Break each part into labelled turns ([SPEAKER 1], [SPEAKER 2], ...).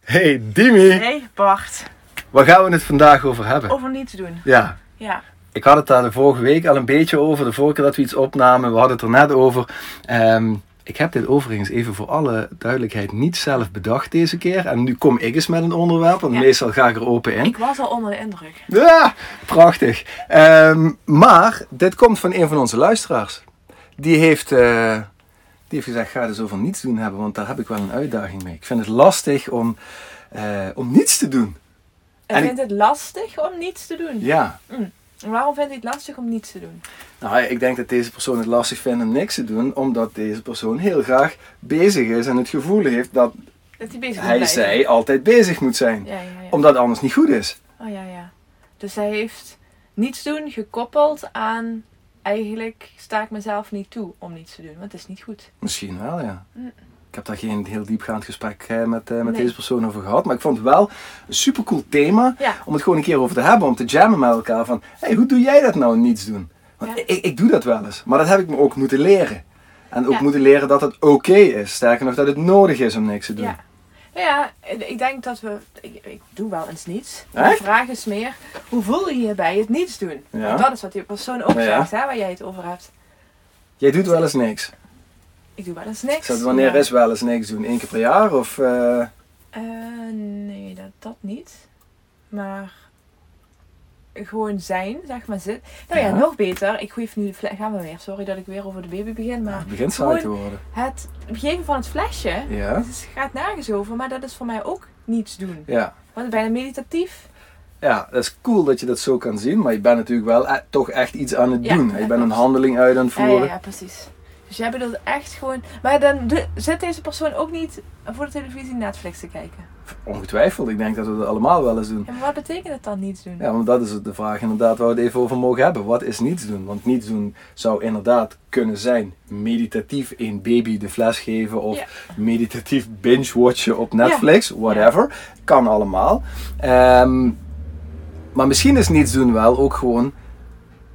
[SPEAKER 1] Hey Dimi!
[SPEAKER 2] Hey Bart,
[SPEAKER 1] Waar gaan we het vandaag over hebben?
[SPEAKER 2] over niet te doen.
[SPEAKER 1] Ja,
[SPEAKER 2] Ja,
[SPEAKER 1] ik had het daar de vorige week al een beetje over. De vorige keer dat we iets opnamen, we hadden het er net over. Ehm, ik heb dit overigens even voor alle duidelijkheid niet zelf bedacht deze keer. En nu kom ik eens met een onderwerp, want
[SPEAKER 2] Ja.
[SPEAKER 1] meestal ga ik er open in.
[SPEAKER 2] ik was al onder de indruk.
[SPEAKER 1] Ja, prachtig. Ehm, maar dit komt van een van onze luisteraars. Die heeft, eh, die heeft gezegd, ga er zo van niets doen hebben, want daar heb ik wel een uitdaging mee. Ik vind het lastig om, eh, om niets te doen.
[SPEAKER 2] En
[SPEAKER 1] En ik-
[SPEAKER 2] vindt het lastig om niets te doen?
[SPEAKER 1] Ja.
[SPEAKER 2] Waarom vindt hij het lastig om niets te doen?
[SPEAKER 1] Nou, ik denk dat deze persoon het lastig vindt om niks te doen, omdat deze persoon heel graag bezig is en het gevoel heeft dat
[SPEAKER 2] Dat hij bezig moet
[SPEAKER 1] hij,
[SPEAKER 2] blijven.
[SPEAKER 1] zij, altijd bezig moet zijn.
[SPEAKER 2] Ja, ja, ja.
[SPEAKER 1] Omdat het anders niet goed is.
[SPEAKER 2] Oh ja, ja. Dus hij heeft niets doen gekoppeld aan eigenlijk sta ik mezelf niet toe om niets te doen, want het is niet goed.
[SPEAKER 1] Misschien wel, ja.
[SPEAKER 2] Mm.
[SPEAKER 1] Ik heb daar geen heel diepgaand gesprek eh, met, eh, met
[SPEAKER 2] Nee.
[SPEAKER 1] deze persoon over gehad, maar ik vond het wel een supercool thema
[SPEAKER 2] Ja.
[SPEAKER 1] om het gewoon een keer over te hebben, om te jammen met elkaar van, hey, hoe doe jij dat nou niets doen? Want
[SPEAKER 2] Ja.
[SPEAKER 1] ik, ik doe dat wel eens, maar dat heb ik me ook moeten leren. En ook
[SPEAKER 2] Ja.
[SPEAKER 1] moeten leren dat het oké is, sterker nog dat het nodig is om niks te doen.
[SPEAKER 2] Ja. Nou ja, ik denk dat we. Ik, ik doe wel eens niets.
[SPEAKER 1] Hè?
[SPEAKER 2] De vraag is meer, hoe voel je je bij het niets doen?
[SPEAKER 1] Ja.
[SPEAKER 2] Want dat is wat die persoon ook
[SPEAKER 1] Ja, ja.
[SPEAKER 2] zegt, hè, waar jij het over hebt.
[SPEAKER 1] Jij doet wel eens niks.
[SPEAKER 2] Ik doe wel eens niks.
[SPEAKER 1] Is dat wanneer
[SPEAKER 2] maar-
[SPEAKER 1] is wel eens niks doen? Eén keer per jaar? Of, eh,
[SPEAKER 2] Eh, nee, dat, dat niet. Maar gewoon zijn, zeg maar. Zit. Nou ja,
[SPEAKER 1] Ja.
[SPEAKER 2] nog beter. Ik geef nu de fle- Gaan we weer. Sorry dat ik weer over de baby begin. Maar
[SPEAKER 1] het begint saai te
[SPEAKER 2] gewoon
[SPEAKER 1] worden.
[SPEAKER 2] het geven van het flesje.
[SPEAKER 1] Ja?
[SPEAKER 2] Het is- gaat nergens over, maar dat is voor mij ook niets doen.
[SPEAKER 1] Ja.
[SPEAKER 2] Want bijna meditatief.
[SPEAKER 1] Ja, dat is cool dat je dat zo kan zien, maar je bent natuurlijk wel eh, toch echt iets aan het
[SPEAKER 2] Ja,
[SPEAKER 1] doen. hè? Je
[SPEAKER 2] dat
[SPEAKER 1] bent een
[SPEAKER 2] klopt.
[SPEAKER 1] handeling uit aan het
[SPEAKER 2] Ja,
[SPEAKER 1] voeren.
[SPEAKER 2] ja, ja, precies. Dus jij bedoelt echt gewoon. Maar dan doe- zit deze persoon ook niet voor de televisie Netflix te kijken.
[SPEAKER 1] Ongetwijfeld, ik denk dat we dat allemaal wel eens doen.
[SPEAKER 2] En wat betekent het dan niets doen?
[SPEAKER 1] Ja, want dat is de vraag inderdaad waar we het even over mogen hebben. Wat is niets doen? Want niets doen zou inderdaad kunnen zijn meditatief een baby de fles geven of
[SPEAKER 2] Ja.
[SPEAKER 1] meditatief binge-watchen op Netflix, whatever. Kan allemaal. Ehm, maar misschien is niets doen wel ook gewoon,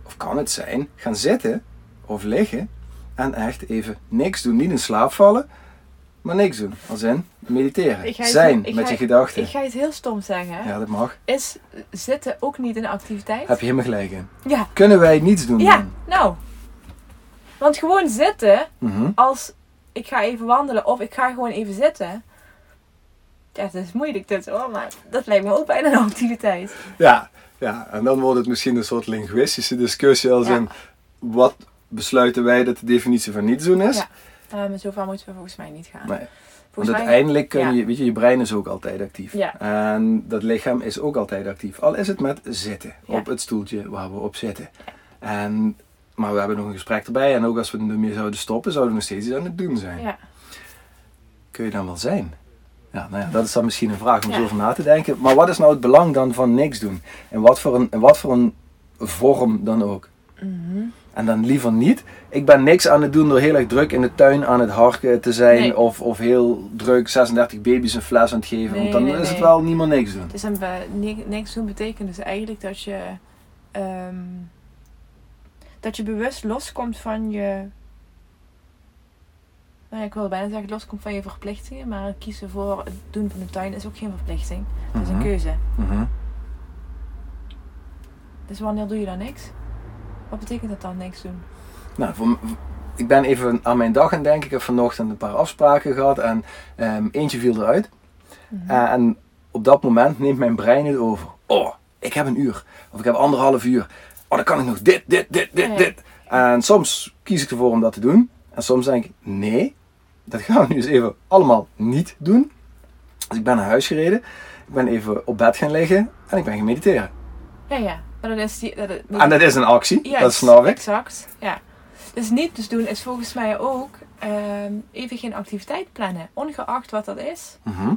[SPEAKER 1] of kan het zijn, gaan zitten of liggen en echt even niks doen. Niet in slaap vallen, maar niks doen. Als in mediteren.
[SPEAKER 2] Ik ga iets-
[SPEAKER 1] zijn
[SPEAKER 2] ik
[SPEAKER 1] met
[SPEAKER 2] ga-
[SPEAKER 1] je gedachten.
[SPEAKER 2] Ik ga iets heel stom zeggen. hè.
[SPEAKER 1] Ja, dat mag.
[SPEAKER 2] Is zitten ook niet een activiteit?
[SPEAKER 1] Heb je helemaal gelijk in.
[SPEAKER 2] Ja.
[SPEAKER 1] Kunnen wij niets doen
[SPEAKER 2] Ja,
[SPEAKER 1] dan?
[SPEAKER 2] nou. Want gewoon zitten,
[SPEAKER 1] Mhm.
[SPEAKER 2] als ik ga even wandelen of ik ga gewoon even zitten. Ja, het is moeilijk dit hoor, maar dat lijkt me ook bijna een activiteit.
[SPEAKER 1] Ja, ja, en dan wordt het misschien een soort linguïstische discussie als
[SPEAKER 2] Ja.
[SPEAKER 1] in wat besluiten wij dat de definitie van niets doen is.
[SPEAKER 2] Ja. Eh, maar zover moeten we volgens mij niet gaan.
[SPEAKER 1] Nee, want
[SPEAKER 2] volgens mij...
[SPEAKER 1] uiteindelijk kun je, weet je, je brein is ook altijd actief.
[SPEAKER 2] Ja.
[SPEAKER 1] En dat lichaam is ook altijd actief. Al is het met zitten
[SPEAKER 2] Ja.
[SPEAKER 1] op het stoeltje waar we op zitten. En, maar we hebben nog een gesprek erbij en ook als we ermee zouden stoppen, zouden we nog steeds iets aan het doen zijn.
[SPEAKER 2] Ja.
[SPEAKER 1] Kun je dan wel zijn? Ja, nou ja, dat is dan misschien een vraag om
[SPEAKER 2] Ja.
[SPEAKER 1] zo over na te denken. Maar wat is nou het belang dan van niks doen? En wat voor een, in wat voor een vorm dan ook?
[SPEAKER 2] Mhm.
[SPEAKER 1] En dan liever niet. Ik ben niks aan het doen door heel erg druk in de tuin aan het harken te zijn.
[SPEAKER 2] Nee.
[SPEAKER 1] Of, of heel druk 36 baby's een fles aan het geven.
[SPEAKER 2] Nee,
[SPEAKER 1] want dan
[SPEAKER 2] nee,
[SPEAKER 1] is het
[SPEAKER 2] nee.
[SPEAKER 1] wel niemand niks doen.
[SPEAKER 2] Dus een be- ni- niks doen betekent dus eigenlijk dat je ehm, dat je bewust loskomt van je. Nou ja, ik wil bijna zeggen loskomt van je verplichtingen, maar het kiezen voor het doen van de tuin is ook geen verplichting. Het is een
[SPEAKER 1] Mhm.
[SPEAKER 2] keuze.
[SPEAKER 1] Mhm.
[SPEAKER 2] Dus wanneer doe je dan niks? Wat betekent dat dan niks doen?
[SPEAKER 1] Nou, voor, m- ik ben even aan mijn dag aan het denken. Ik heb vanochtend een paar afspraken gehad en ehm, eentje viel eruit.
[SPEAKER 2] Mhm.
[SPEAKER 1] En- Eh, En op dat moment neemt mijn brein het over. Oh, ik heb een uur. Of ik heb anderhalf uur. Oh, dan kan ik nog dit, dit, dit, dit,
[SPEAKER 2] Ja.
[SPEAKER 1] dit. En soms kies ik ervoor om dat te doen. En soms denk ik, nee, dat gaan we nu eens even allemaal niet doen. Dus ik ben naar huis gereden. Ik ben even op bed gaan liggen. En ik ben gaan mediteren.
[SPEAKER 2] Ja, ja. Maar dan is die. Dat, dat,
[SPEAKER 1] En dat is een actie.
[SPEAKER 2] Juist,
[SPEAKER 1] dat snap ik.
[SPEAKER 2] Exact, ja. Dus niet dus doen is volgens mij ook ehm, even geen activiteit plannen, ongeacht wat dat is.
[SPEAKER 1] Mhm.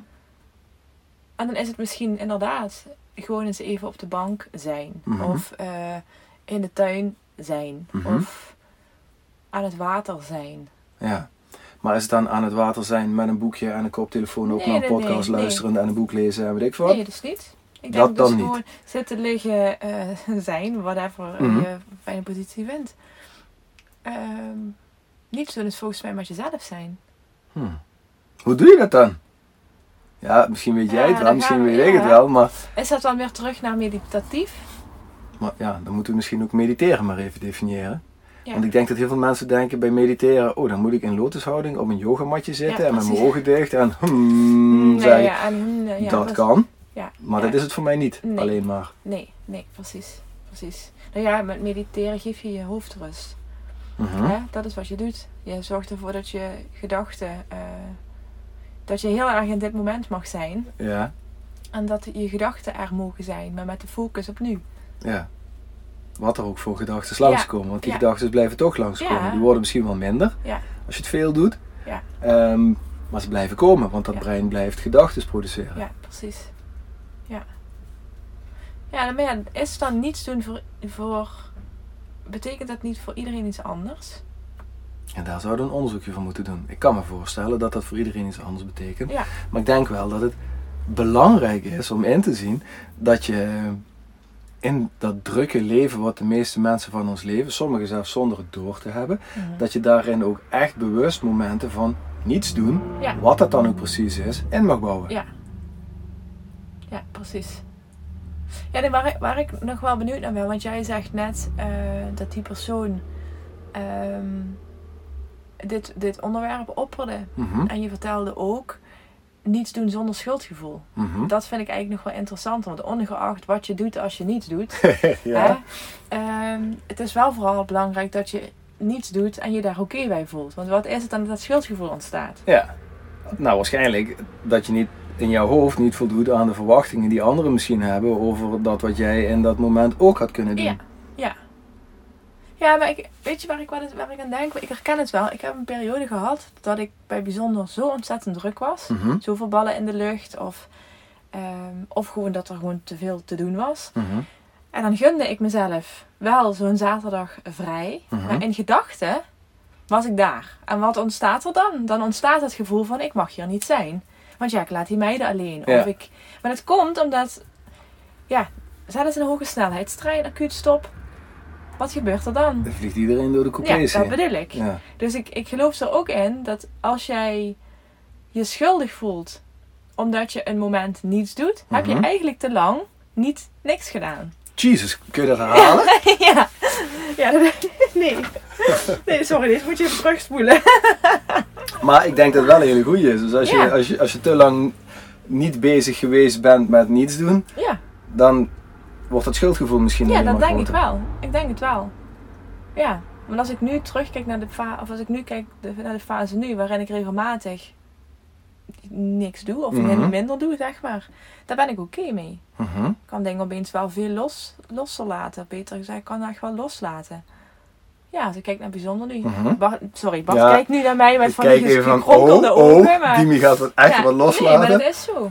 [SPEAKER 2] En dan is het misschien inderdaad gewoon eens even op de bank zijn.
[SPEAKER 1] Mhm.
[SPEAKER 2] Of eh, in de tuin zijn.
[SPEAKER 1] Mhm.
[SPEAKER 2] Of aan het water zijn.
[SPEAKER 1] Ja. Maar is het dan aan het water zijn met een boekje en een koptelefoon op
[SPEAKER 2] Nee,
[SPEAKER 1] naar een
[SPEAKER 2] nee,
[SPEAKER 1] podcast
[SPEAKER 2] nee, nee.
[SPEAKER 1] luisteren en een boek lezen en weet ik wat?
[SPEAKER 2] Nee, dus niet. Ik
[SPEAKER 1] Dat
[SPEAKER 2] denk dus
[SPEAKER 1] dan niet.
[SPEAKER 2] gewoon zitten, liggen, eh, zijn, whatever eh,
[SPEAKER 1] Mhm.
[SPEAKER 2] je fijne positie vindt. Ehm, niet doen is volgens mij met jezelf zijn.
[SPEAKER 1] Hmm. Hoe doe je dat dan? Ja, misschien weet jij
[SPEAKER 2] Ja,
[SPEAKER 1] het wel,
[SPEAKER 2] dan
[SPEAKER 1] misschien
[SPEAKER 2] gaan we-
[SPEAKER 1] weet ik
[SPEAKER 2] ja.
[SPEAKER 1] het wel, maar,
[SPEAKER 2] Is dat dan weer terug naar meditatief?
[SPEAKER 1] maar ja, dan moeten we misschien ook mediteren maar even definiëren.
[SPEAKER 2] Ja.
[SPEAKER 1] Want ik denk dat heel veel mensen denken bij mediteren, oh dan moet ik in lotushouding op een yogamatje zitten en met mijn
[SPEAKER 2] precies.
[SPEAKER 1] ogen dicht en hmm,
[SPEAKER 2] Nee,
[SPEAKER 1] zeggen,
[SPEAKER 2] ja, en, hmm, ja,
[SPEAKER 1] dat
[SPEAKER 2] was-
[SPEAKER 1] kan.
[SPEAKER 2] ja,
[SPEAKER 1] Maar
[SPEAKER 2] ja.
[SPEAKER 1] dat is het voor mij niet,
[SPEAKER 2] Nee.
[SPEAKER 1] alleen maar.
[SPEAKER 2] Nee, nee, precies. precies. Nou ja, met mediteren geef je je hoofd rust.
[SPEAKER 1] Mhm.
[SPEAKER 2] Hè? Dat is wat je doet. Je zorgt ervoor dat je gedachten... eh, dat je heel erg in dit moment mag zijn.
[SPEAKER 1] Ja,
[SPEAKER 2] En dat je gedachten er mogen zijn, maar met de focus op nu.
[SPEAKER 1] ja. Wat er ook voor gedachten langskomen, want die
[SPEAKER 2] ja.
[SPEAKER 1] gedachten blijven toch langskomen.
[SPEAKER 2] Ja.
[SPEAKER 1] Die worden misschien wel minder
[SPEAKER 2] Ja.
[SPEAKER 1] als je het veel doet,
[SPEAKER 2] Ja.
[SPEAKER 1] Ehm, maar ze blijven komen, want dat
[SPEAKER 2] Ja.
[SPEAKER 1] brein blijft gedachten produceren.
[SPEAKER 2] Ja, precies. Ja. Ja, nou, maar ja, is dan niets doen voor, voor... Betekent dat niet voor iedereen iets anders?
[SPEAKER 1] En daar zouden we een onderzoekje van moeten doen. Ik kan me voorstellen dat dat voor iedereen iets anders betekent.
[SPEAKER 2] Ja.
[SPEAKER 1] Maar ik denk wel dat het belangrijk is om in te zien dat je in dat drukke leven wat de meeste mensen van ons leven, sommigen zelfs zonder het door te hebben,
[SPEAKER 2] Mhm.
[SPEAKER 1] dat je daarin ook echt bewust momenten van niets doen,
[SPEAKER 2] Ja.
[SPEAKER 1] wat dat dan ook precies is, in mag bouwen.
[SPEAKER 2] Ja. Ja, precies. Ja, nee, waar, ik- waar ik nog wel benieuwd naar ben, want jij zegt net eh, dat die persoon ehm, dit, dit onderwerp opperde.
[SPEAKER 1] Mhm,
[SPEAKER 2] En je vertelde ook niets doen zonder schuldgevoel.
[SPEAKER 1] mhm.
[SPEAKER 2] Dat vind ik eigenlijk nog wel interessant, want ongeacht wat je doet als je niets doet, hè,
[SPEAKER 1] ja.
[SPEAKER 2] ehm, het is wel vooral belangrijk dat je niets doet en je daar oké bij voelt. Want wat is het dan dat dat schuldgevoel ontstaat?
[SPEAKER 1] ja. Nou, waarschijnlijk dat je niet in jouw hoofd niet voldoet aan de verwachtingen die anderen misschien hebben over dat wat jij in dat moment ook had kunnen doen.
[SPEAKER 2] Ja, ja. Ja, maar ik, weet je waar ik, wel eens- waar ik aan denk? Ik herken het wel. Ik heb een periode gehad dat ik bij bijzonder zo ontzettend druk was.
[SPEAKER 1] Mhm,
[SPEAKER 2] Zoveel ballen in de lucht of, ehm, of gewoon dat er gewoon te veel te doen was.
[SPEAKER 1] mhm.
[SPEAKER 2] En dan gunde ik mezelf wel zo'n zaterdag vrij.
[SPEAKER 1] Mhm.
[SPEAKER 2] Maar in gedachten was ik daar. En wat ontstaat er dan? Dan ontstaat het gevoel van ik mag hier niet zijn. Want ja, ik laat die meiden alleen.
[SPEAKER 1] Ja.
[SPEAKER 2] Of ik... Maar dat komt omdat, ja, zelfs een hoge snelheidstrein, acuut stop. Wat gebeurt er dan?
[SPEAKER 1] Dan vliegt iedereen door de coupés
[SPEAKER 2] ja, dat
[SPEAKER 1] heen.
[SPEAKER 2] bedoel ik.
[SPEAKER 1] Ja.
[SPEAKER 2] Dus ik, ik geloof er ook in dat als jij je schuldig voelt omdat je een moment niets doet, heb je
[SPEAKER 1] Mhm.
[SPEAKER 2] eigenlijk te lang niet niks gedaan.
[SPEAKER 1] Jesus, kun je dat herhalen?
[SPEAKER 2] Ja, ja dat, nee. Nee, sorry, dit moet je even terugspoelen.
[SPEAKER 1] Maar ik denk dat het wel een hele goede is. Dus als,
[SPEAKER 2] Ja.
[SPEAKER 1] je, als, je, als je te lang niet bezig geweest bent met niets doen,
[SPEAKER 2] Ja,
[SPEAKER 1] dan wordt dat schuldgevoel misschien
[SPEAKER 2] ja
[SPEAKER 1] alleen
[SPEAKER 2] dat
[SPEAKER 1] maar
[SPEAKER 2] denk ik
[SPEAKER 1] groter.
[SPEAKER 2] wel. Ik denk het wel. Ja, want als ik nu terugkijk naar de fase, of als ik nu kijk de- naar de fase nu, waarin ik regelmatig niks doe, of
[SPEAKER 1] Mhm.
[SPEAKER 2] minder doe, zeg maar, daar ben ik oké mee.
[SPEAKER 1] Mhm.
[SPEAKER 2] Ik kan dingen opeens wel veel los, losser laten. Beter gezegd, ik kan echt wel loslaten. Ja, als ik kijk naar bijzonder nu.
[SPEAKER 1] Mhm.
[SPEAKER 2] Bart- sorry, Bart
[SPEAKER 1] Ja,
[SPEAKER 2] kijkt nu naar mij met
[SPEAKER 1] Ik
[SPEAKER 2] van die
[SPEAKER 1] kijk
[SPEAKER 2] ges-
[SPEAKER 1] even van,
[SPEAKER 2] gekronkelde
[SPEAKER 1] oh,
[SPEAKER 2] ogen.
[SPEAKER 1] oh,
[SPEAKER 2] maar-
[SPEAKER 1] Dimi gaat het echt
[SPEAKER 2] Ja,
[SPEAKER 1] wel
[SPEAKER 2] Nee,
[SPEAKER 1] loslaten.
[SPEAKER 2] maar dat is zo.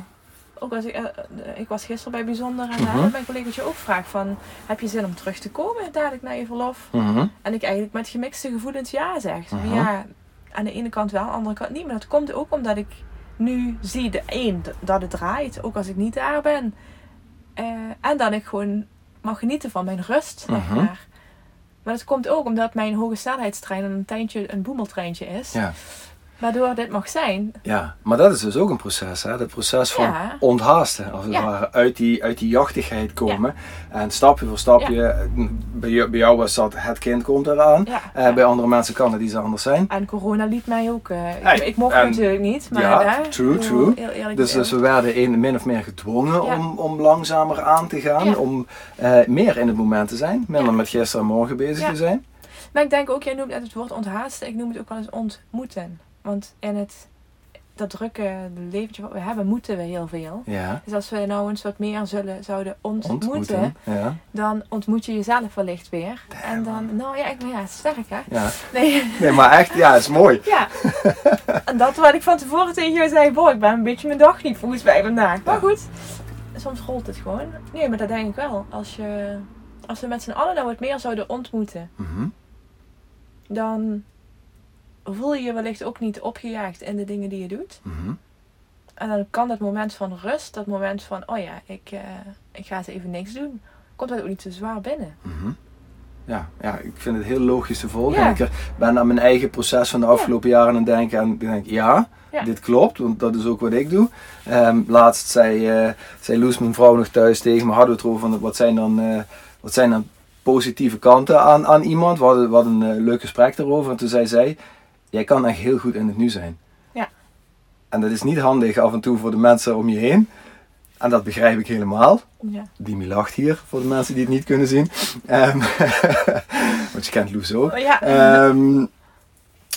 [SPEAKER 2] Ook als ik, eh, eh, ik was gisteren bij Bijzonder en daar
[SPEAKER 1] Mhm.
[SPEAKER 2] mijn collegaatje ook vraagt van... Heb je zin om terug te komen dadelijk na je verlof?
[SPEAKER 1] Mhm.
[SPEAKER 2] En ik eigenlijk met gemixte gevoelens ja zeg.
[SPEAKER 1] Mhm.
[SPEAKER 2] Ja, aan de ene kant wel, aan de andere kant niet. Maar dat komt ook omdat ik nu zie, de één, d- dat het draait. Ook als ik niet daar ben. Eh, en dat ik gewoon mag genieten van mijn rust, zeg
[SPEAKER 1] Mhm.
[SPEAKER 2] maar. Maar dat komt ook omdat mijn hoge snelheidstrein een tijdje een boemeltreintje is.
[SPEAKER 1] Ja.
[SPEAKER 2] Waardoor dit mag zijn.
[SPEAKER 1] ja, maar dat is dus ook een proces. Hè? Dat proces van
[SPEAKER 2] Ja.
[SPEAKER 1] onthaasten, als het
[SPEAKER 2] Ja.
[SPEAKER 1] ware. Uit die, uit die jachtigheid komen. En stapje voor stapje. Bij, jou- bij jou was dat het kind komt eraan.
[SPEAKER 2] Ja.
[SPEAKER 1] Eh, bij andere mensen kan het iets anders zijn.
[SPEAKER 2] En corona liet mij ook. eh, ik-
[SPEAKER 1] Hey,
[SPEAKER 2] ik, mocht
[SPEAKER 1] en-
[SPEAKER 2] natuurlijk niet. Maar
[SPEAKER 1] ja,
[SPEAKER 2] hè,
[SPEAKER 1] true,
[SPEAKER 2] ik bedoel,
[SPEAKER 1] true.
[SPEAKER 2] Heel eerlijk
[SPEAKER 1] Dus, dus
[SPEAKER 2] gezegd.
[SPEAKER 1] we werden in, min of meer gedwongen
[SPEAKER 2] Ja.
[SPEAKER 1] om, om langzamer aan te gaan,
[SPEAKER 2] Ja.
[SPEAKER 1] om eh, meer in het moment te zijn, minder
[SPEAKER 2] Ja.
[SPEAKER 1] met gisteren en morgen bezig
[SPEAKER 2] Ja.
[SPEAKER 1] te zijn.
[SPEAKER 2] Maar ik denk ook, jij noemt net het woord onthaasten. Ik noem het ook wel eens ontmoeten. Want in het, dat drukke leventje wat we hebben, moeten we heel veel.
[SPEAKER 1] Ja,
[SPEAKER 2] Dus als we nou eens wat meer zullen, zouden ontmoeten,
[SPEAKER 1] ontmoeten. Ja,
[SPEAKER 2] dan ontmoet je jezelf wellicht weer. en dan, nou ja, ik ben ja, sterk hè.
[SPEAKER 1] ja.
[SPEAKER 2] Nee,
[SPEAKER 1] Nee, maar echt, ja, is mooi.
[SPEAKER 2] ja. en dat wat ik van tevoren tegen jou zei, boh, ik ben een beetje mijn dag niet volgens mij vandaag. Maar
[SPEAKER 1] Ja.
[SPEAKER 2] goed, soms rolt het gewoon. Nee, maar dat denk ik wel. Als, je, als we met z'n allen nou wat meer zouden ontmoeten.
[SPEAKER 1] Mhm.
[SPEAKER 2] dan voel je je wellicht ook niet opgejaagd in de dingen die je doet.
[SPEAKER 1] mhm.
[SPEAKER 2] En dan kan dat moment van rust, dat moment van, oh ja, ik, eh, ik ga eens even niks doen, komt dat ook niet zo zwaar binnen.
[SPEAKER 1] Mhm. Ja, ja, ik vind het heel logisch te volgen.
[SPEAKER 2] Ja.
[SPEAKER 1] En ik er- ben aan mijn eigen proces van de afgelopen jaren aan het denken. En ik denk, ja,
[SPEAKER 2] Ja.
[SPEAKER 1] dit klopt, want dat is ook wat ik doe. Ehm, laatst zei, eh zei Loes, mijn vrouw, nog thuis tegen me, hadden we het erover van wat zijn dan, eh, wat zijn dan positieve kanten aan, aan iemand. We hadden, we hadden een eh, leuk gesprek daarover. En toen zei zij, jij kan echt heel goed in het nu zijn.
[SPEAKER 2] Ja.
[SPEAKER 1] En dat is niet handig af en toe voor de mensen om je heen. En dat begrijp ik helemaal.
[SPEAKER 2] Ja.
[SPEAKER 1] Dimi lacht hier, voor de mensen die het niet kunnen zien. Ehm, want je kent Loes ook.
[SPEAKER 2] Maar Oh, ja,
[SPEAKER 1] Ehm,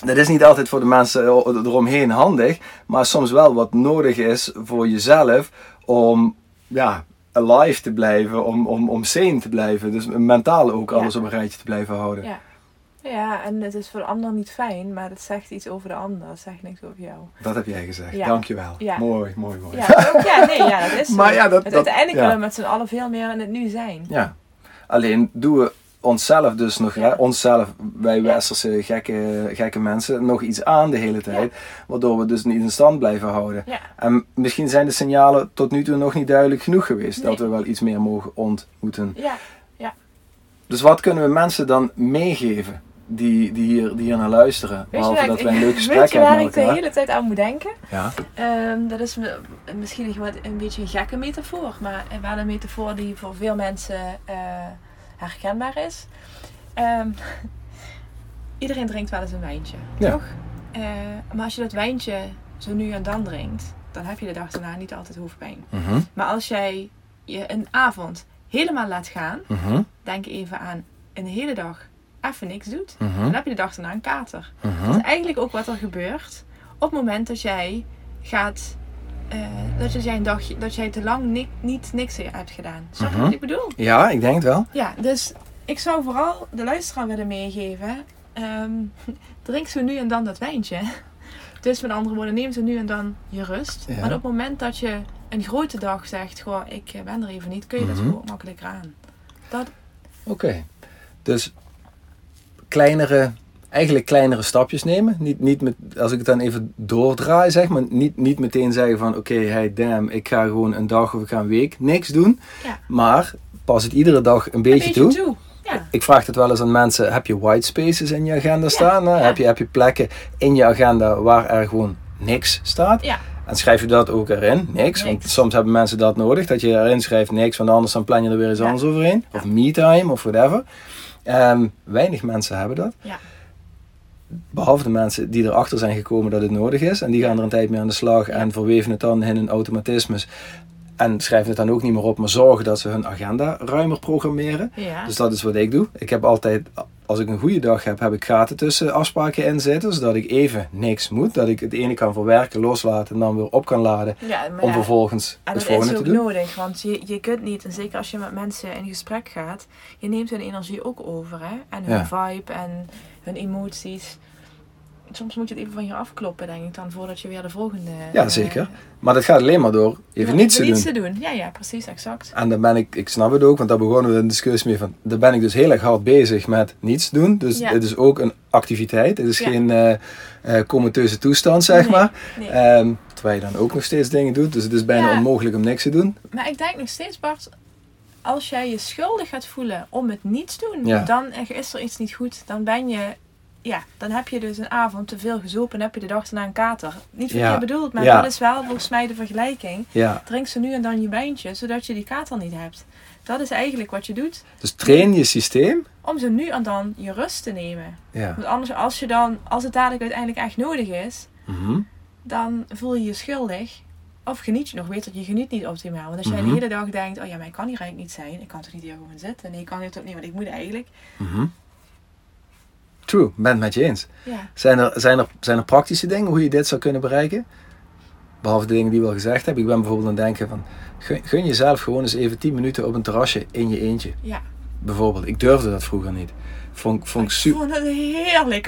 [SPEAKER 1] dat is niet altijd voor de mensen eromheen handig, maar soms wel wat nodig is voor jezelf om ja, alive te blijven, om, om, om sane te blijven. Dus mentaal ook
[SPEAKER 2] Ja.
[SPEAKER 1] alles op een rijtje te blijven houden.
[SPEAKER 2] ja. ja, en het is voor de ander niet fijn, maar het zegt iets over de ander, het zegt niks over jou.
[SPEAKER 1] Dat heb jij gezegd,
[SPEAKER 2] Ja.
[SPEAKER 1] dankjewel.
[SPEAKER 2] Ja.
[SPEAKER 1] Mooi, mooi, mooi.
[SPEAKER 2] Ja, ook, ja, nee, ja dat is zo.
[SPEAKER 1] Oh. Maar ja, dat-
[SPEAKER 2] Want
[SPEAKER 1] dat-
[SPEAKER 2] Uiteindelijk
[SPEAKER 1] ja.
[SPEAKER 2] willen we met z'n allen veel meer in het nu zijn.
[SPEAKER 1] Ja. Alleen doen we onszelf dus nog, hè,
[SPEAKER 2] Ja.
[SPEAKER 1] onszelf, wij
[SPEAKER 2] Ja.
[SPEAKER 1] westerse gekke, gekke mensen, nog iets aan de hele tijd. Waardoor we dus niet in stand blijven houden.
[SPEAKER 2] Ja.
[SPEAKER 1] En misschien zijn de signalen tot nu toe nog niet duidelijk genoeg geweest. Dat we
[SPEAKER 2] Nee.
[SPEAKER 1] wel iets meer mogen ontmoeten.
[SPEAKER 2] Ja,
[SPEAKER 1] Dus wat kunnen we mensen dan meegeven die, die, hier, die hier naar luisteren?
[SPEAKER 2] weet je,
[SPEAKER 1] Behalve
[SPEAKER 2] waar
[SPEAKER 1] dat
[SPEAKER 2] ik-
[SPEAKER 1] wij een leuk
[SPEAKER 2] weet
[SPEAKER 1] gesprek
[SPEAKER 2] je
[SPEAKER 1] hebben
[SPEAKER 2] waar
[SPEAKER 1] met
[SPEAKER 2] ik de
[SPEAKER 1] elkaar.
[SPEAKER 2] hele tijd aan moet denken?
[SPEAKER 1] Ja.
[SPEAKER 2] Ehm, dat is me- misschien een, wat, een beetje een gekke metafoor, maar wel een metafoor die voor veel mensen eh, herkenbaar is. Ehm, iedereen drinkt wel eens een wijntje,
[SPEAKER 1] Ja.
[SPEAKER 2] toch? Eh, maar als je dat wijntje zo nu en dan drinkt, dan heb je de dag daarna niet altijd hoofdpijn.
[SPEAKER 1] Mhm,
[SPEAKER 2] Maar als jij je een avond helemaal laat gaan,
[SPEAKER 1] mhm,
[SPEAKER 2] denk even aan een hele dag even niks doet,
[SPEAKER 1] mhm,
[SPEAKER 2] dan heb je de dag daarna een kater.
[SPEAKER 1] mhm.
[SPEAKER 2] Dat is eigenlijk ook wat er gebeurt op het moment dat jij gaat. eh, dat jij een dagje, dat jij te lang ni- niet niks hebt gedaan. Snap je
[SPEAKER 1] Mhm.
[SPEAKER 2] wat ik bedoel?
[SPEAKER 1] Ja, ik denk het wel.
[SPEAKER 2] Ja, dus ik zou vooral de luisteraar willen meegeven. ehm, drink zo nu en dan dat wijntje. Dus met andere woorden, neem zo nu en dan je rust.
[SPEAKER 1] Ja.
[SPEAKER 2] Maar op het moment dat je een grote dag zegt, goh, ik eh, ben er even niet, kun je dat
[SPEAKER 1] Mhm.
[SPEAKER 2] gewoon makkelijker aan.
[SPEAKER 1] Oké. Dus kleinere, eigenlijk kleinere stapjes nemen. Niet, niet met, als ik het dan even doordraai, zeg maar. Niet, niet meteen zeggen van, oké, hey, damn, ik ga gewoon een dag of ik ga een week niks doen.
[SPEAKER 2] Ja.
[SPEAKER 1] Maar pas het iedere dag een
[SPEAKER 2] Een
[SPEAKER 1] beetje, toe.
[SPEAKER 2] Ja.
[SPEAKER 1] Ik vraag het wel eens aan mensen, heb je white spaces in je agenda staan? hè?
[SPEAKER 2] ja.
[SPEAKER 1] Heb, je, heb je plekken in je agenda waar er gewoon niks staat?
[SPEAKER 2] Ja.
[SPEAKER 1] En schrijf je dat ook erin? Niks. Want
[SPEAKER 2] Niks.
[SPEAKER 1] soms hebben mensen dat nodig, dat je erin schrijft niks, want anders dan plan je er weer eens
[SPEAKER 2] Ja.
[SPEAKER 1] anders overheen. Of
[SPEAKER 2] Ja.
[SPEAKER 1] me-time of whatever. Ehm, weinig mensen hebben dat.
[SPEAKER 2] Ja.
[SPEAKER 1] Behalve de mensen die erachter zijn gekomen dat het nodig is. En die gaan er een tijd mee aan de slag en verweven het dan in hun automatismes. En schrijven het dan ook niet meer op, maar zorgen dat ze hun agenda ruimer programmeren.
[SPEAKER 2] Ja.
[SPEAKER 1] Dus dat is wat ik doe. Ik heb altijd, als ik een goede dag heb, heb ik gaten tussen afspraken in zitten. Zodat ik even niks moet. Dat ik het ene kan verwerken, loslaten en dan weer op kan laden.
[SPEAKER 2] ja, maar
[SPEAKER 1] Om
[SPEAKER 2] ja.
[SPEAKER 1] vervolgens
[SPEAKER 2] En
[SPEAKER 1] het
[SPEAKER 2] dat is
[SPEAKER 1] Dus volgende te
[SPEAKER 2] ook
[SPEAKER 1] doen.
[SPEAKER 2] nodig, want je, je kunt niet, en zeker als je met mensen in gesprek gaat, je neemt hun energie ook over, hè? En hun
[SPEAKER 1] Ja.
[SPEAKER 2] vibe en hun emoties. Soms moet je het even van je afkloppen, denk ik dan, voordat je weer de volgende...
[SPEAKER 1] Ja,
[SPEAKER 2] eh,
[SPEAKER 1] zeker. Maar dat gaat alleen maar door even
[SPEAKER 2] door
[SPEAKER 1] niets te doen.
[SPEAKER 2] Ja, ja, precies, exact.
[SPEAKER 1] En dan ben ik, ik snap het ook, want daar begonnen we een discussie mee van. Daar ben ik dus heel erg hard bezig met niets doen. Dus
[SPEAKER 2] Ja.
[SPEAKER 1] het is ook een activiteit. Het is
[SPEAKER 2] Ja.
[SPEAKER 1] geen eh eh, comateuze toestand, zeg
[SPEAKER 2] Nee,
[SPEAKER 1] maar.
[SPEAKER 2] nee.
[SPEAKER 1] Ehm, terwijl je dan ook nog steeds dingen doet. Dus het is bijna
[SPEAKER 2] Ja.
[SPEAKER 1] onmogelijk om niks te doen.
[SPEAKER 2] Maar ik denk nog steeds, Bart, als jij je schuldig gaat voelen om het niet te doen,
[SPEAKER 1] Ja.
[SPEAKER 2] dan is er iets niet goed. Dan ben je, ja, dan heb je dus een avond te veel gezopen en heb je de dag daarna een kater. Niet verkeerd
[SPEAKER 1] Ja.
[SPEAKER 2] bedoeld, maar
[SPEAKER 1] Ja.
[SPEAKER 2] dat is wel volgens mij de vergelijking.
[SPEAKER 1] Ja,
[SPEAKER 2] Drink ze nu en dan je wijntje, zodat je die kater niet hebt. Dat is eigenlijk wat je doet,
[SPEAKER 1] dus train je systeem.
[SPEAKER 2] om zo nu en dan je rust te nemen.
[SPEAKER 1] Ja.
[SPEAKER 2] Want anders, als, je dan, als het dadelijk uiteindelijk echt nodig is,
[SPEAKER 1] Mhm.
[SPEAKER 2] dan voel je je schuldig. Of geniet je nog beter, je geniet niet optimaal. Want als jij
[SPEAKER 1] Mhm.
[SPEAKER 2] de hele dag denkt, oh ja, maar ik kan hier eigenlijk niet zijn. Ik kan toch niet hier gewoon zitten. Nee, ik kan dit ook niet, want ik moet eigenlijk.
[SPEAKER 1] Mhm. True, ben het met je eens.
[SPEAKER 2] Ja,
[SPEAKER 1] Zijn er, zijn, er, zijn er praktische dingen hoe je dit zou kunnen bereiken? Behalve de dingen die we al gezegd hebben. Ik ben bijvoorbeeld aan het denken van... Gun, gun jezelf gewoon eens even 10 minuten op een terrasje in je eentje.
[SPEAKER 2] ja.
[SPEAKER 1] Bijvoorbeeld. Ik durfde dat vroeger niet. Vond, ik- vond ik
[SPEAKER 2] Ik
[SPEAKER 1] super...
[SPEAKER 2] vond het heerlijk.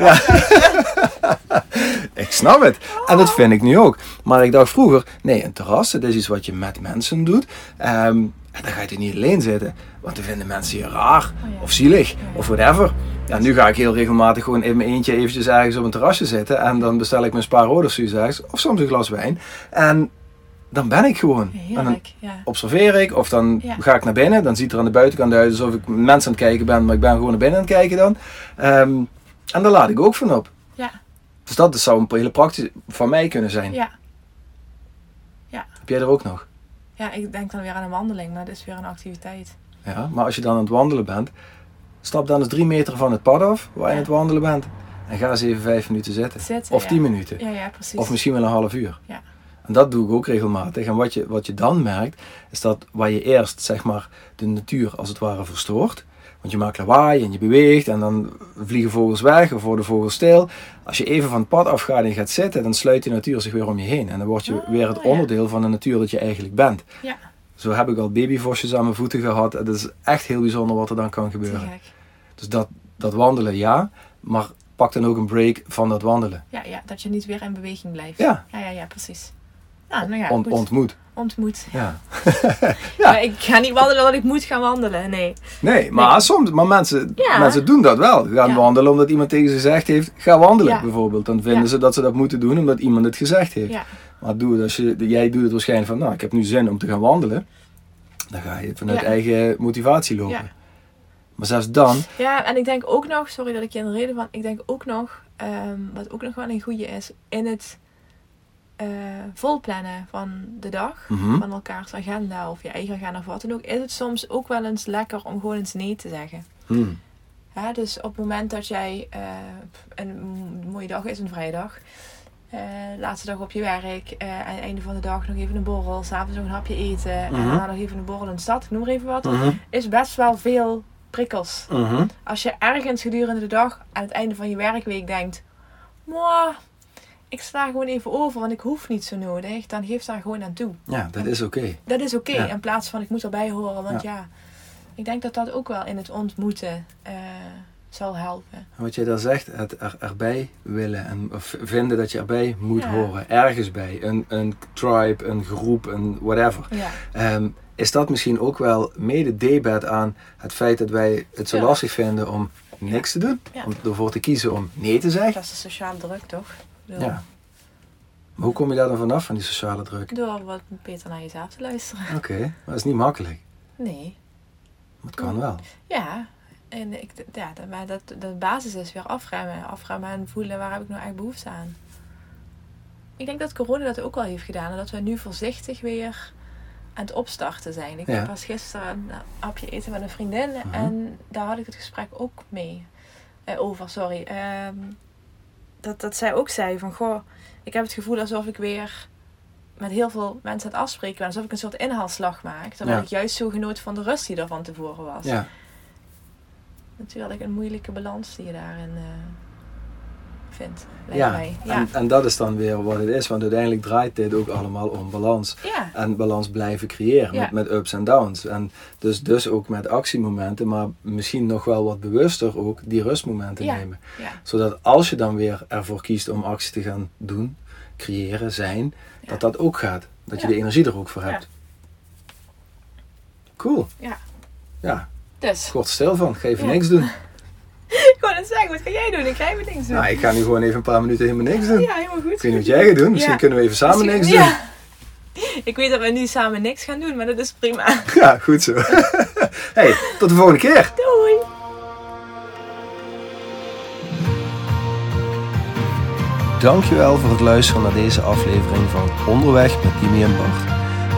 [SPEAKER 1] Ik snap het. En dat vind ik nu ook. Maar ik dacht vroeger, nee, een terras, dat is iets wat je met mensen doet. Ehm, en dan ga je er niet alleen zitten. Want dan vinden mensen je raar.
[SPEAKER 2] Oh ja.
[SPEAKER 1] Of zielig.
[SPEAKER 2] Ja.
[SPEAKER 1] Of whatever. Ja, nu ga ik heel regelmatig gewoon in mijn eentje eventjes ergens op een terrasje zitten. En dan bestel ik mijn spa rode suus ergens. Of soms een glas wijn. En dan ben ik gewoon. En dan
[SPEAKER 2] Heerlijk, ja.
[SPEAKER 1] observeer ik. Of dan
[SPEAKER 2] Ja.
[SPEAKER 1] ga ik naar binnen. Dan ziet er aan de buitenkant uit alsof ik mensen aan het kijken ben. Maar ik ben gewoon naar binnen aan het kijken dan. Ehm, en daar laat ik ook van op.
[SPEAKER 2] Ja,
[SPEAKER 1] Dus dat is- zou een hele praktisch van mij kunnen zijn.
[SPEAKER 2] ja.
[SPEAKER 1] Heb jij er ook nog?
[SPEAKER 2] Ja, ik denk dan weer aan een wandeling, maar dat is weer een activiteit.
[SPEAKER 1] Ja, maar als je dan aan het wandelen bent, stap dan eens drie meter van het pad af waar
[SPEAKER 2] Ja.
[SPEAKER 1] je aan het wandelen bent. En ga eens even vijf minuten zitten.
[SPEAKER 2] Zitten,
[SPEAKER 1] Of
[SPEAKER 2] ja.
[SPEAKER 1] tien minuten.
[SPEAKER 2] Ja, ja, precies.
[SPEAKER 1] Of misschien wel een half uur.
[SPEAKER 2] Ja.
[SPEAKER 1] En dat doe ik ook regelmatig. En wat je, wat je dan merkt, is dat waar je eerst zeg maar, de natuur als het ware verstoort. Want je maakt lawaai en je beweegt en dan vliegen vogels weg of worden vogels stil. Als je even van het pad afgaat en je gaat zitten, dan sluit die natuur zich weer om je heen. En dan word je
[SPEAKER 2] Oh,
[SPEAKER 1] weer het
[SPEAKER 2] ja.
[SPEAKER 1] onderdeel van de natuur dat je eigenlijk bent.
[SPEAKER 2] Ja,
[SPEAKER 1] Zo heb ik al babyvosjes aan mijn voeten gehad. Het is echt heel bijzonder wat er dan kan
[SPEAKER 2] te
[SPEAKER 1] gebeuren.
[SPEAKER 2] gek.
[SPEAKER 1] Dus dat, dat wandelen, ja. Maar pak dan ook een break van dat wandelen.
[SPEAKER 2] Ja, ja, dat je niet weer in beweging blijft.
[SPEAKER 1] Ja.
[SPEAKER 2] Ja, ja, ja, precies. Nou, nou ja,
[SPEAKER 1] On-
[SPEAKER 2] goed.
[SPEAKER 1] ontmoet.
[SPEAKER 2] ontmoet.
[SPEAKER 1] Ja. Ja.
[SPEAKER 2] Maar ik ga niet wandelen omdat ik moet gaan wandelen, nee.
[SPEAKER 1] Nee, maar
[SPEAKER 2] Nee.
[SPEAKER 1] soms, maar mensen,
[SPEAKER 2] Ja.
[SPEAKER 1] mensen doen dat wel. Ze gaan
[SPEAKER 2] Ja.
[SPEAKER 1] wandelen omdat iemand tegen ze gezegd heeft, ga wandelen
[SPEAKER 2] Ja.
[SPEAKER 1] bijvoorbeeld. Dan vinden
[SPEAKER 2] Ja.
[SPEAKER 1] ze dat ze dat moeten doen omdat iemand het gezegd heeft.
[SPEAKER 2] Ja.
[SPEAKER 1] Maar doe het als je, jij doet het waarschijnlijk van, nou, ik heb nu zin om te gaan wandelen. Dan ga je vanuit
[SPEAKER 2] Ja.
[SPEAKER 1] eigen motivatie lopen.
[SPEAKER 2] Ja.
[SPEAKER 1] Maar zelfs dan,
[SPEAKER 2] Ja, en ik denk ook nog, sorry dat ik je in de reden van, ik denk ook nog, ehm, wat ook nog wel een goede is, in het eh, volplannen van de dag,
[SPEAKER 1] Mhm.
[SPEAKER 2] van elkaars agenda of je eigen agenda of wat dan ook, is het soms ook wel eens lekker om gewoon eens nee te zeggen.
[SPEAKER 1] hmm,
[SPEAKER 2] Ja, dus op het moment dat jij eh, een m- mooie dag is, een vrijdag, eh, laatste dag op je werk, eh, aan het einde van de dag nog even een borrel, s'avonds nog een hapje eten, en
[SPEAKER 1] Mhm.
[SPEAKER 2] daarna nog even een borrel in de stad, ik noem maar even wat,
[SPEAKER 1] mhm,
[SPEAKER 2] is best wel veel prikkels.
[SPEAKER 1] mhm.
[SPEAKER 2] Als je ergens gedurende de dag aan het einde van je werkweek denkt: Mwah, ik sla gewoon even over, want ik hoef niet zo nodig, dan geef daar gewoon aan toe.
[SPEAKER 1] ja, dat is oké.
[SPEAKER 2] Dat is oké,
[SPEAKER 1] Ja.
[SPEAKER 2] in plaats van ik moet erbij horen, want ja. ik denk dat dat ook wel in het ontmoeten eh, zal helpen.
[SPEAKER 1] Wat jij daar zegt, het er, erbij willen en of vinden dat je erbij moet
[SPEAKER 2] Ja.
[SPEAKER 1] horen, ergens bij, een, een tribe, een groep, een whatever.
[SPEAKER 2] Ja,
[SPEAKER 1] Ehm, is dat misschien ook wel mede debet aan het feit dat wij het zo
[SPEAKER 2] Ja.
[SPEAKER 1] lastig vinden om niks te doen?
[SPEAKER 2] Ja.
[SPEAKER 1] Om ervoor te kiezen om nee te
[SPEAKER 2] dat
[SPEAKER 1] zeggen?
[SPEAKER 2] is de sociale druk toch? Ik bedoel,
[SPEAKER 1] Ja. Maar hoe kom je daar dan vanaf, van die sociale druk?
[SPEAKER 2] Door wat beter naar jezelf te luisteren.
[SPEAKER 1] Oké, dat is niet makkelijk,
[SPEAKER 2] Nee.
[SPEAKER 1] maar het kan wel.
[SPEAKER 2] Ja. En ik, ja, dat- maar dat, de basis is weer afremmen. Afremmen en voelen waar heb ik nou echt behoefte aan. Ik denk dat corona dat ook wel heeft gedaan. En dat we nu voorzichtig weer aan het opstarten zijn. Ik
[SPEAKER 1] Ja.
[SPEAKER 2] was gisteren een hapje eten met een vriendin.
[SPEAKER 1] Mhm.
[SPEAKER 2] En daar had ik het gesprek ook mee. eh, over, sorry. Ehm, dat, dat zij ook zei van... Goh, ik heb het gevoel alsof ik weer met heel veel mensen aan het afspreken ben. Alsof ik een soort inhaalslag maak. Terwijl
[SPEAKER 1] Ja.
[SPEAKER 2] ik juist zo genoot van de rust die er van tevoren was.
[SPEAKER 1] Ja,
[SPEAKER 2] Natuurlijk een moeilijke balans die je daarin eh, vindt. Lijkt
[SPEAKER 1] ja.
[SPEAKER 2] mij. Ja.
[SPEAKER 1] En, en dat is dan weer wat het is, want uiteindelijk draait dit ook allemaal om balans.
[SPEAKER 2] ja.
[SPEAKER 1] en balans blijven creëren
[SPEAKER 2] Ja.
[SPEAKER 1] met, met ups en downs. En dus, dus ook met actiemomenten, maar misschien nog wel wat bewuster ook die rustmomenten
[SPEAKER 2] Ja.
[SPEAKER 1] nemen.
[SPEAKER 2] Ja.
[SPEAKER 1] Zodat als je dan weer ervoor kiest om actie te gaan doen, creëren, zijn,
[SPEAKER 2] Ja.
[SPEAKER 1] dat dat ook gaat. Dat je
[SPEAKER 2] Ja.
[SPEAKER 1] de energie er ook voor
[SPEAKER 2] Ja.
[SPEAKER 1] hebt. Cool.
[SPEAKER 2] Ja.
[SPEAKER 1] Ja,
[SPEAKER 2] Dus,
[SPEAKER 1] kort stil van. Ga even
[SPEAKER 2] Ja.
[SPEAKER 1] niks doen.
[SPEAKER 2] ik wou net zeggen, wat ga jij doen? Ik ga even niks doen.
[SPEAKER 1] Nou, ik ga nu gewoon even een paar minuten helemaal niks doen.
[SPEAKER 2] ja, helemaal goed.
[SPEAKER 1] Ik weet niet wat jij gaat doen. Misschien
[SPEAKER 2] Ja.
[SPEAKER 1] kunnen we even samen
[SPEAKER 2] Misschien-
[SPEAKER 1] niks
[SPEAKER 2] ja. Ik weet dat we nu samen niks gaan doen, maar dat is prima.
[SPEAKER 1] doen. Ja, goed zo. Hey, tot de volgende keer.
[SPEAKER 2] Doei!
[SPEAKER 1] Dankjewel voor het luisteren naar deze aflevering van Onderweg met Timmy en Bart.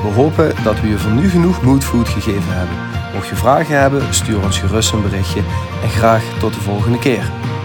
[SPEAKER 1] We hopen dat we je voor nu genoeg moodfood gegeven hebben. Mocht je vragen hebben, stuur ons gerust een berichtje en graag tot de volgende keer.